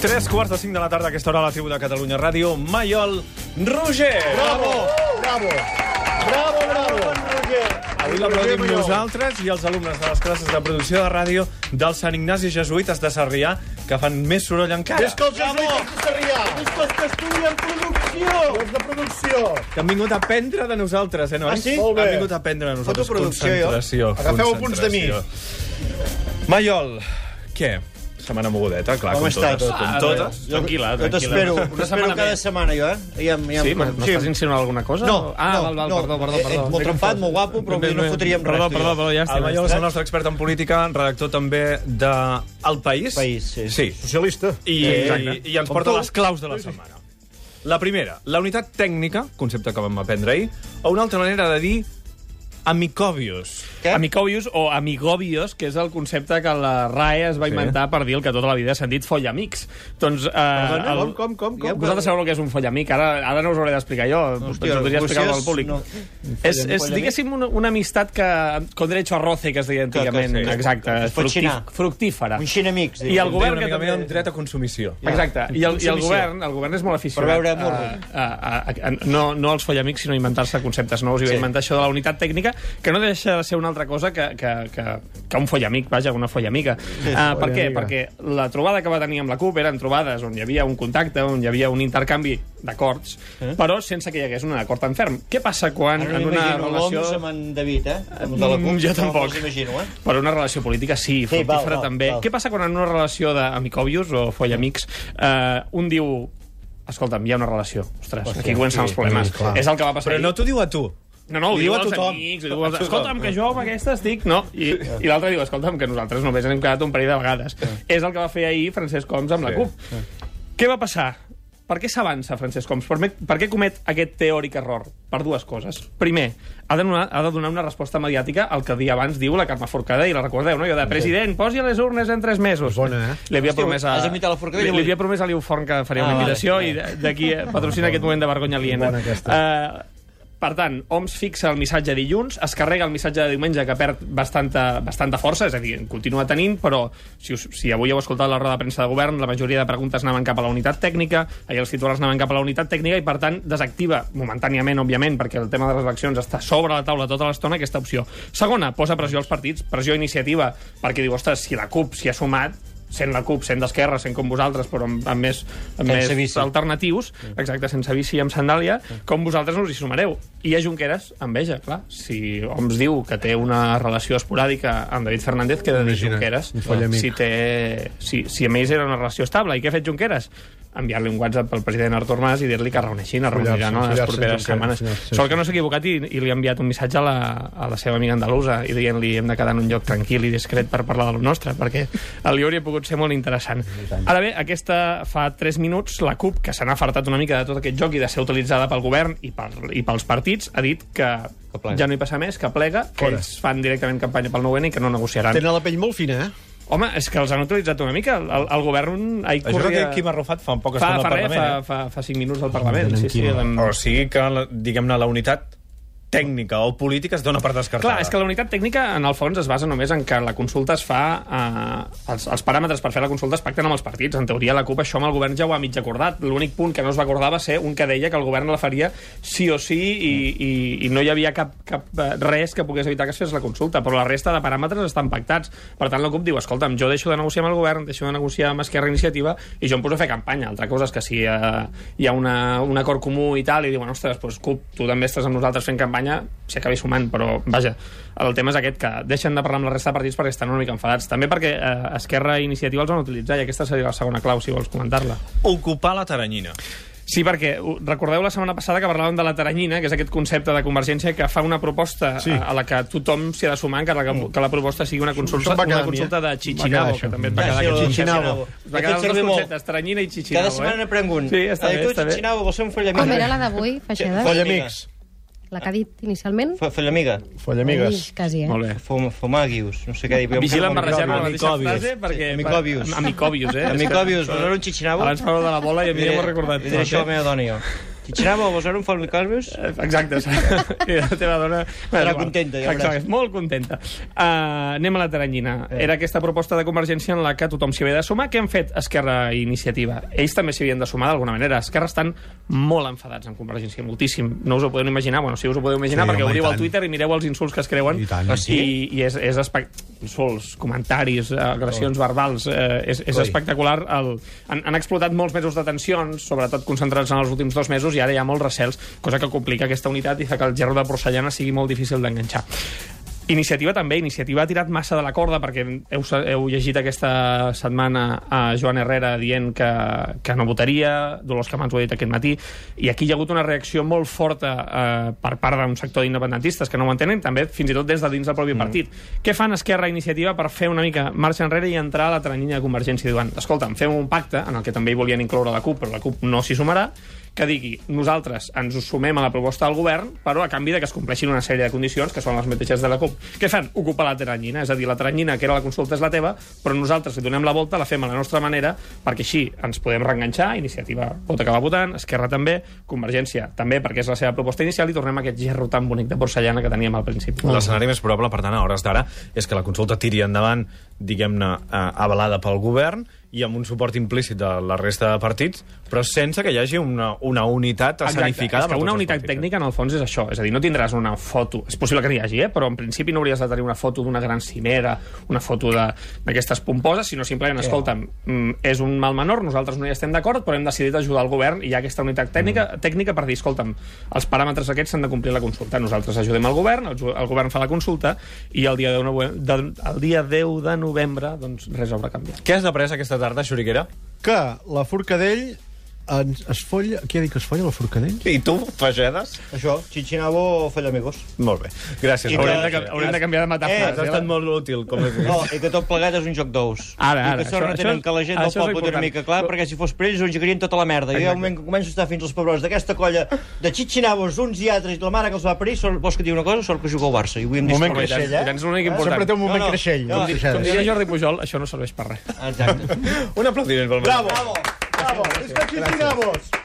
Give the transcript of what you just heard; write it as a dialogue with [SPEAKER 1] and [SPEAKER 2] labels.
[SPEAKER 1] Tres quarts de cinc de la tarda, aquesta hora, a la tribu de Catalunya Ràdio, Maiol Roger.
[SPEAKER 2] Bravo, bravo, bravo, bravo.
[SPEAKER 1] Avui l'aplaudim nosaltres i els alumnes de les classes de producció de ràdio del Sant Ignasi Jesuïtes de Sarrià, que fan més soroll encara.
[SPEAKER 2] És que els jesuïtes de Sarrià,
[SPEAKER 3] Després que estudien producció.
[SPEAKER 2] els de producció.
[SPEAKER 1] Que han vingut a aprendre de nosaltres, eh, nois?
[SPEAKER 2] Ah, sí? Molt bé.
[SPEAKER 1] Han vingut a aprendre de nosaltres.
[SPEAKER 3] Fotoproducció, jo.
[SPEAKER 1] Concentració.
[SPEAKER 2] Agafeu apunts de mi.
[SPEAKER 1] concentració. Maiol, què? Setmana mogudeta, clar,
[SPEAKER 3] Com
[SPEAKER 1] com,
[SPEAKER 3] està
[SPEAKER 1] totes.
[SPEAKER 3] tot?
[SPEAKER 1] Com totes.
[SPEAKER 4] Ah, Tranquil·la,
[SPEAKER 3] Jo
[SPEAKER 4] tranquil·la.
[SPEAKER 3] t'espero,
[SPEAKER 4] Una
[SPEAKER 3] t'espero
[SPEAKER 4] setmana
[SPEAKER 3] cada
[SPEAKER 4] més.
[SPEAKER 3] setmana, jo, eh? Ja, em- ja, em-
[SPEAKER 4] Sí? M'estàs insinuant alguna cosa?
[SPEAKER 3] No,
[SPEAKER 4] Ah,
[SPEAKER 3] no,
[SPEAKER 4] val, val,
[SPEAKER 3] no.
[SPEAKER 4] perdó, perdó,
[SPEAKER 3] Eh, eh,
[SPEAKER 4] perdó.
[SPEAKER 3] molt trempat, molt guapo, però avui no fotríem res,
[SPEAKER 4] Perdó,
[SPEAKER 3] tu i jo.
[SPEAKER 4] perdó, perdó, ja
[SPEAKER 1] El Maiol és
[SPEAKER 4] està.
[SPEAKER 1] el nostre expert en política, redactor també de El País.
[SPEAKER 3] País, sí.
[SPEAKER 1] Sí,
[SPEAKER 2] Socialista.
[SPEAKER 1] I,
[SPEAKER 4] Exacte.
[SPEAKER 1] i, i ens porta les claus de la setmana. La primera, la unitat tècnica, concepte que vam aprendre ahir, o una altra manera de dir amicobius.
[SPEAKER 3] Què?
[SPEAKER 4] Amicobius o amigobios, que és el concepte que la RAE es va inventar per dir el que tota la vida s'han dit follamics. Doncs, eh,
[SPEAKER 2] Perdona,
[SPEAKER 4] el...
[SPEAKER 2] com, com, com, com?
[SPEAKER 4] Vosaltres sabeu el que és un follamic, ara, ara no us hauré d'explicar jo,
[SPEAKER 3] Hòstia,
[SPEAKER 4] us podria explicar
[SPEAKER 3] Rússia
[SPEAKER 4] al
[SPEAKER 3] és-
[SPEAKER 4] públic.
[SPEAKER 3] no.
[SPEAKER 4] És,
[SPEAKER 3] Follamic,
[SPEAKER 4] és,
[SPEAKER 3] follamic.
[SPEAKER 4] diguéssim, una, una amistat que... Con derecho a roce, que es deia antigament.
[SPEAKER 3] que sí.
[SPEAKER 4] Exacte,
[SPEAKER 3] Es pot xinar.
[SPEAKER 4] fructífera.
[SPEAKER 3] Un xinamics,
[SPEAKER 4] I el
[SPEAKER 3] diguem.
[SPEAKER 4] govern
[SPEAKER 1] Té
[SPEAKER 4] que
[SPEAKER 1] una mica
[SPEAKER 4] també...
[SPEAKER 1] també... un dret a consumició.
[SPEAKER 4] Exacte, i el, i el
[SPEAKER 3] Submissió.
[SPEAKER 4] govern el govern és molt aficionat
[SPEAKER 3] Per veure
[SPEAKER 4] a,
[SPEAKER 3] Murray.
[SPEAKER 4] a, a, a, no, no als follamics, sinó a inventar-se conceptes nous i va
[SPEAKER 3] Sí.
[SPEAKER 4] inventar això de la unitat tècnica, que no deixa de ser una altra cosa que, que, que, que un follamic, vaja, una follamica. Sí, uh, per què? Perquè la trobada que va tenir amb la CUP eren trobades on hi havia un contacte, on hi havia un intercanvi d'acords, eh? però sense que hi hagués un acord tan ferm. Què passa quan
[SPEAKER 3] Ara
[SPEAKER 4] en
[SPEAKER 3] no
[SPEAKER 4] una
[SPEAKER 3] m'imagino
[SPEAKER 4] relació...
[SPEAKER 3] l'Homs amb en David, eh? Amb de la
[SPEAKER 4] Mm,
[SPEAKER 3] CUP,
[SPEAKER 4] jo
[SPEAKER 3] no
[SPEAKER 4] tampoc.
[SPEAKER 3] me'ls imagino, eh?
[SPEAKER 4] Per una relació política, sí,
[SPEAKER 3] Sí, val,
[SPEAKER 4] fructífera
[SPEAKER 3] val,
[SPEAKER 4] també.
[SPEAKER 3] val.
[SPEAKER 4] Què passa quan en una relació d'amicobios o follamics eh, un diu escolta'm, hi ha una relació. Ostres, aquí comencen els problemes. és el que va passar
[SPEAKER 1] Però no
[SPEAKER 4] ahir.
[SPEAKER 1] t'ho diu a tu.
[SPEAKER 4] No, no, ho
[SPEAKER 1] diu
[SPEAKER 4] diu
[SPEAKER 1] a
[SPEAKER 4] als
[SPEAKER 1] tothom.
[SPEAKER 4] amics. ho Diu als... Escolta'm, que jo amb aquesta estic... No. I, i l'altre diu, escolta'm, que nosaltres només hem quedat un parell de vegades. És el que va fer ahir Francesc Homs amb la
[SPEAKER 1] Sí.
[SPEAKER 4] CUP. Què va passar? Per què s'avança Francesc Homs? Per, me- per què comet aquest teòric error? Per dues coses. Primer, ha de, donar, ha de donar una resposta mediàtica al que dia abans diu la Carme Forcada, i la recordeu, no? Jo de president, posi a les urnes en tres mesos.
[SPEAKER 2] Bona, eh?
[SPEAKER 4] Li havia
[SPEAKER 3] Hòstia,
[SPEAKER 4] promès a...
[SPEAKER 3] has imitat la Forcadell
[SPEAKER 4] li,
[SPEAKER 3] avui?
[SPEAKER 4] li havia promès a Liu Forn que faria
[SPEAKER 3] Ah,
[SPEAKER 4] una
[SPEAKER 3] vale.
[SPEAKER 4] invitació i d- d'aquí eh, patrocina aquest moment de vergonya aliena.
[SPEAKER 2] Bona aquesta.
[SPEAKER 4] Uh, per tant, Homs fixa el missatge dilluns, es carrega el missatge de diumenge que perd bastanta, bastanta força, és a dir, en continua tenint, però si, us, si avui heu escoltat la roda de premsa de govern, la majoria de preguntes anaven cap a la unitat tècnica, ahir els titulars anaven cap a la unitat tècnica i, per tant, desactiva momentàniament, òbviament, perquè el tema de les eleccions està sobre la taula tota l'estona, aquesta opció. Segona, posa pressió als partits, pressió a iniciativa, perquè diu, ostres, si la CUP s'hi ha sumat, sent la CUP, sent d'esquerra, sent com vosaltres, però amb, amb més, amb
[SPEAKER 3] Sense
[SPEAKER 4] més
[SPEAKER 3] vici.
[SPEAKER 4] alternatius,
[SPEAKER 2] Mm.
[SPEAKER 4] exacte, sense bici i amb sandàlia, com vosaltres no us hi sumareu. I a Junqueras, enveja, clar. Si Homs diu que té una relació esporàdica amb David Fernández, queda de
[SPEAKER 2] Imagina't,
[SPEAKER 4] Junqueras.
[SPEAKER 2] un follamic.
[SPEAKER 4] Si, té, si, si amb ells era una relació estable. I què ha fet Junqueras? enviar-li un WhatsApp al president Artur Mas i dir-li que es reuneixin, es
[SPEAKER 2] Follar-se,
[SPEAKER 4] reuniran no, les
[SPEAKER 2] follar-se,
[SPEAKER 4] properes
[SPEAKER 2] Junqueras,
[SPEAKER 4] setmanes.
[SPEAKER 2] follar-se.
[SPEAKER 4] Sort que no s'ha equivocat i, i li ha enviat un missatge a la, a la seva amiga andalusa i dient-li hem de quedar en un lloc tranquil i discret per parlar del nostre, perquè li hauria pogut ser molt interessant. Ara bé, aquesta fa 3 minuts, la CUP, que se n'ha fartat una mica de tot aquest joc i de ser utilitzada pel govern i, per, i pels partits, ha dit que,
[SPEAKER 3] Que plega.
[SPEAKER 4] ja no hi passa més, que plega, que
[SPEAKER 2] Fora.
[SPEAKER 4] ells fan directament campanya pel 9-N i que no negociaran.
[SPEAKER 2] Tenen la pell molt fina, eh?
[SPEAKER 4] Home, és que els han utilitzat una mica. El, el- el govern ahir
[SPEAKER 1] Això que
[SPEAKER 4] corria...
[SPEAKER 1] Quim Arrufat fa un poc
[SPEAKER 4] fa,
[SPEAKER 1] estona
[SPEAKER 4] fa,
[SPEAKER 1] al
[SPEAKER 4] res, fa,
[SPEAKER 1] Parlament.
[SPEAKER 4] fa, fa 5 minuts al Parlament. Sí, doncs, sí,
[SPEAKER 1] eh?
[SPEAKER 4] l'hem-
[SPEAKER 1] O sigui que, la- diguem-ne, la unitat tècnica o política es dona per descartada.
[SPEAKER 4] Clar, és que la unitat tècnica, en el fons, es basa només en que la consulta es fa... Eh, els, els paràmetres per fer la consulta es pacten amb els partits. En teoria, la CUP això amb el govern ja ho ha mig acordat. L'únic punt que no es va acordar va ser un que deia que el govern la faria sí o sí i, i, i no hi havia cap, cap eh, res que pogués evitar que es fes la consulta. Però la resta de paràmetres estan pactats. Per tant, la CUP diu, escolta'm, jo deixo de negociar amb el govern, deixo de negociar amb Esquerra Iniciativa i jo em poso a fer campanya. Altra cosa és que si eh, hi ha una, un acord comú i tal, i diuen, ostres, doncs, CUP, tu també estàs amb nosaltres fent campanya, s'hi acabi sumant, però vaja, el tema és aquest, que deixen de parlar amb la resta de partits perquè estan una mica enfadats. També perquè eh, Esquerra i Iniciativa els van utilitzar, i aquesta seria la segona clau, si vols comentar-la.
[SPEAKER 1] Ocupar la taranyina.
[SPEAKER 4] Sí, perquè ho- recordeu la setmana passada que parlàvem de la taranyina, que és aquest concepte de Convergència que fa una proposta sí. Mm. a, a la que tothom s'hi ha de sumar, encara que, que la proposta sigui una consulta,
[SPEAKER 2] Em va quedar
[SPEAKER 4] una
[SPEAKER 2] a mi, eh?
[SPEAKER 4] consulta de
[SPEAKER 2] Em va quedar
[SPEAKER 4] Chichinabo,
[SPEAKER 2] això.
[SPEAKER 4] que també et va
[SPEAKER 3] Ja,
[SPEAKER 4] quedar
[SPEAKER 3] sí, el
[SPEAKER 4] aquest concepte.
[SPEAKER 3] Chichinabo.
[SPEAKER 4] Us va quedar els
[SPEAKER 3] Aquest
[SPEAKER 4] dos
[SPEAKER 3] servir molt.
[SPEAKER 4] conceptes, taranyina i Chichinabo.
[SPEAKER 3] Cada setmana
[SPEAKER 4] eh?
[SPEAKER 3] n'aprenc un.
[SPEAKER 4] Sí, està
[SPEAKER 3] Eh,
[SPEAKER 4] bé,
[SPEAKER 3] tu,
[SPEAKER 4] està bé.
[SPEAKER 3] Chichinabo, vols ser un follamiga?
[SPEAKER 5] Com era la d'avui, Feixeda?
[SPEAKER 2] Follamics.
[SPEAKER 5] La que ha dit inicialment?
[SPEAKER 3] Fo- follamiga.
[SPEAKER 2] Follamigues.
[SPEAKER 5] Ui, quasi, eh?
[SPEAKER 4] Molt bé.
[SPEAKER 3] Fom- fomaguius, no sé què dir.
[SPEAKER 4] Vigila en barrejar la mateixa
[SPEAKER 1] Amicobius.
[SPEAKER 4] frase, perquè...
[SPEAKER 3] Sí, amicobius.
[SPEAKER 4] Am- Amicobius, eh?
[SPEAKER 3] Amicobius, però no era un Chichinabo?
[SPEAKER 4] Abans parlo de la bola i a mi ja m'ho he recordat.
[SPEAKER 3] Diré això a la meva dona, jo. Xixinava o Besora em fan carbes?
[SPEAKER 4] Exacte. I la teva dona...
[SPEAKER 3] Estarà Eh, contenta, ja veuràs.
[SPEAKER 4] Exacte, molt contenta. Uh, anem a la taranyina.
[SPEAKER 3] Eh.
[SPEAKER 4] Era aquesta proposta de Convergència en la que tothom s'hi havia de sumar. Què han fet Esquerra i Iniciativa? Ells també s'hi havien de sumar d'alguna manera. Esquerra estan molt enfadats amb Convergència, moltíssim. No us ho podeu imaginar, bueno, si us ho podeu imaginar,
[SPEAKER 6] Sí, home,
[SPEAKER 4] perquè
[SPEAKER 6] i
[SPEAKER 4] obriu el
[SPEAKER 6] tant.
[SPEAKER 4] Twitter i mireu els insults que es creuen.
[SPEAKER 6] I tant.
[SPEAKER 4] I,
[SPEAKER 6] Ah,
[SPEAKER 3] sí?
[SPEAKER 4] i és, és espect... insults, comentaris, eh, agressions verbals... Eh, és, és
[SPEAKER 6] Coi.
[SPEAKER 4] espectacular. El... Han, han explotat molts mesos de tensions, sobretot concentrats en els últims dos mesos, i ara hi ha molts recels, cosa que complica aquesta unitat i fa que el gerro de porcellana sigui molt difícil d'enganxar. Iniciativa també, Iniciativa ha tirat massa de la corda perquè heu, sa- heu llegit aquesta setmana a Joan Herrera dient que, que no votaria, Dolors Camans ho ha dit aquest matí, i aquí hi ha hagut una reacció molt forta eh, per part d'un sector d'independentistes que no ho entenen, també fins i tot des de dins del propi partit. Què fan Esquerra i Iniciativa per fer una mica marxa enrere i entrar a la tranyinya de Convergència diuen, escolta'm, fem un pacte en el que també hi volien incloure la CUP, però la CUP no s'hi sumarà, que digui, nosaltres ens us sumem a la proposta del govern, però a canvi de que es compleixin una sèrie de condicions que són les mateixes de la CUP. Què fan? Ocupar la teranyina, és a dir, la teranyina que era la consulta és la teva, però nosaltres li donem la volta, la fem a la nostra manera, perquè així ens podem reenganxar, Iniciativa pot acabar votant, Esquerra també, Convergència també, perquè és la seva proposta inicial, i tornem a aquest gerro tan bonic de porcellana que teníem al principi.
[SPEAKER 1] L'escenari més probable, per tant, a hores d'ara, és que la consulta tiri endavant, diguem-ne, eh, avalada pel govern i amb un suport implícit de la resta de partits, però sense que hi hagi una, una unitat escenificada.
[SPEAKER 4] és que
[SPEAKER 1] per tots
[SPEAKER 4] una
[SPEAKER 1] els
[SPEAKER 4] unitat
[SPEAKER 1] partits. eh?
[SPEAKER 4] tècnica en el fons és això, és a dir, no tindràs una foto, és possible que n'hi hagi, eh? però en principi no hauries de tenir una foto d'una gran cimera, una foto de- d'aquestes pomposes, sinó simplement, escolta'm, mm, és un mal menor, nosaltres no hi estem d'acord, però hem decidit ajudar el govern i hi ha aquesta unitat tècnica, tècnica per dir, escolta'm, els paràmetres aquests s'han de complir la consulta, nosaltres ajudem el govern, el, ju- el govern fa la consulta i el dia 10 de novembre, de, el dia 10 de novembre doncs res haurà canviat.
[SPEAKER 1] Què has après aquesta tarda, Xuriguera?
[SPEAKER 2] Que la Forcadell ens, es folla... Qui ha dit que es folla la Forcadell?
[SPEAKER 1] I tu, Fagedes?
[SPEAKER 3] Això, Xixinava o Fallamigos.
[SPEAKER 1] Molt bé, gràcies.
[SPEAKER 3] I
[SPEAKER 1] Haurem de-
[SPEAKER 4] Haurem de,
[SPEAKER 1] eh?
[SPEAKER 4] ca- haurem de canviar de metàfora.
[SPEAKER 1] Has estat molt útil, com és.
[SPEAKER 3] No, i que tot plegat és un joc d'ous.
[SPEAKER 4] Ara, ara,
[SPEAKER 3] I que sort no
[SPEAKER 4] això-
[SPEAKER 3] tenen
[SPEAKER 4] això-
[SPEAKER 3] que la gent del
[SPEAKER 4] això és
[SPEAKER 3] poble té
[SPEAKER 4] important.
[SPEAKER 3] una mica clar, perquè si fos per ells ho engegarien tota la merda. I hi ha un moment que començo a estar fins als pebrots d'aquesta colla de xitxinavos, uns i altres, i la mare que els va parir, sort, vols que et digui una cosa? Sort que juga al Barça. I avui hem vist
[SPEAKER 2] Moment
[SPEAKER 3] per
[SPEAKER 2] que
[SPEAKER 3] Creixell, eh?
[SPEAKER 4] Tens l'únic important.
[SPEAKER 2] Sempre té un moment
[SPEAKER 3] No, no.
[SPEAKER 2] creixell.
[SPEAKER 3] No,
[SPEAKER 2] com
[SPEAKER 4] Com
[SPEAKER 2] dixeres.
[SPEAKER 4] diria Jordi Pujol, això no serveix per res.
[SPEAKER 3] Exacte.
[SPEAKER 1] Un aplaudiment pel Manel.
[SPEAKER 3] Bravo!
[SPEAKER 2] Bravo! És que aquí tinamos!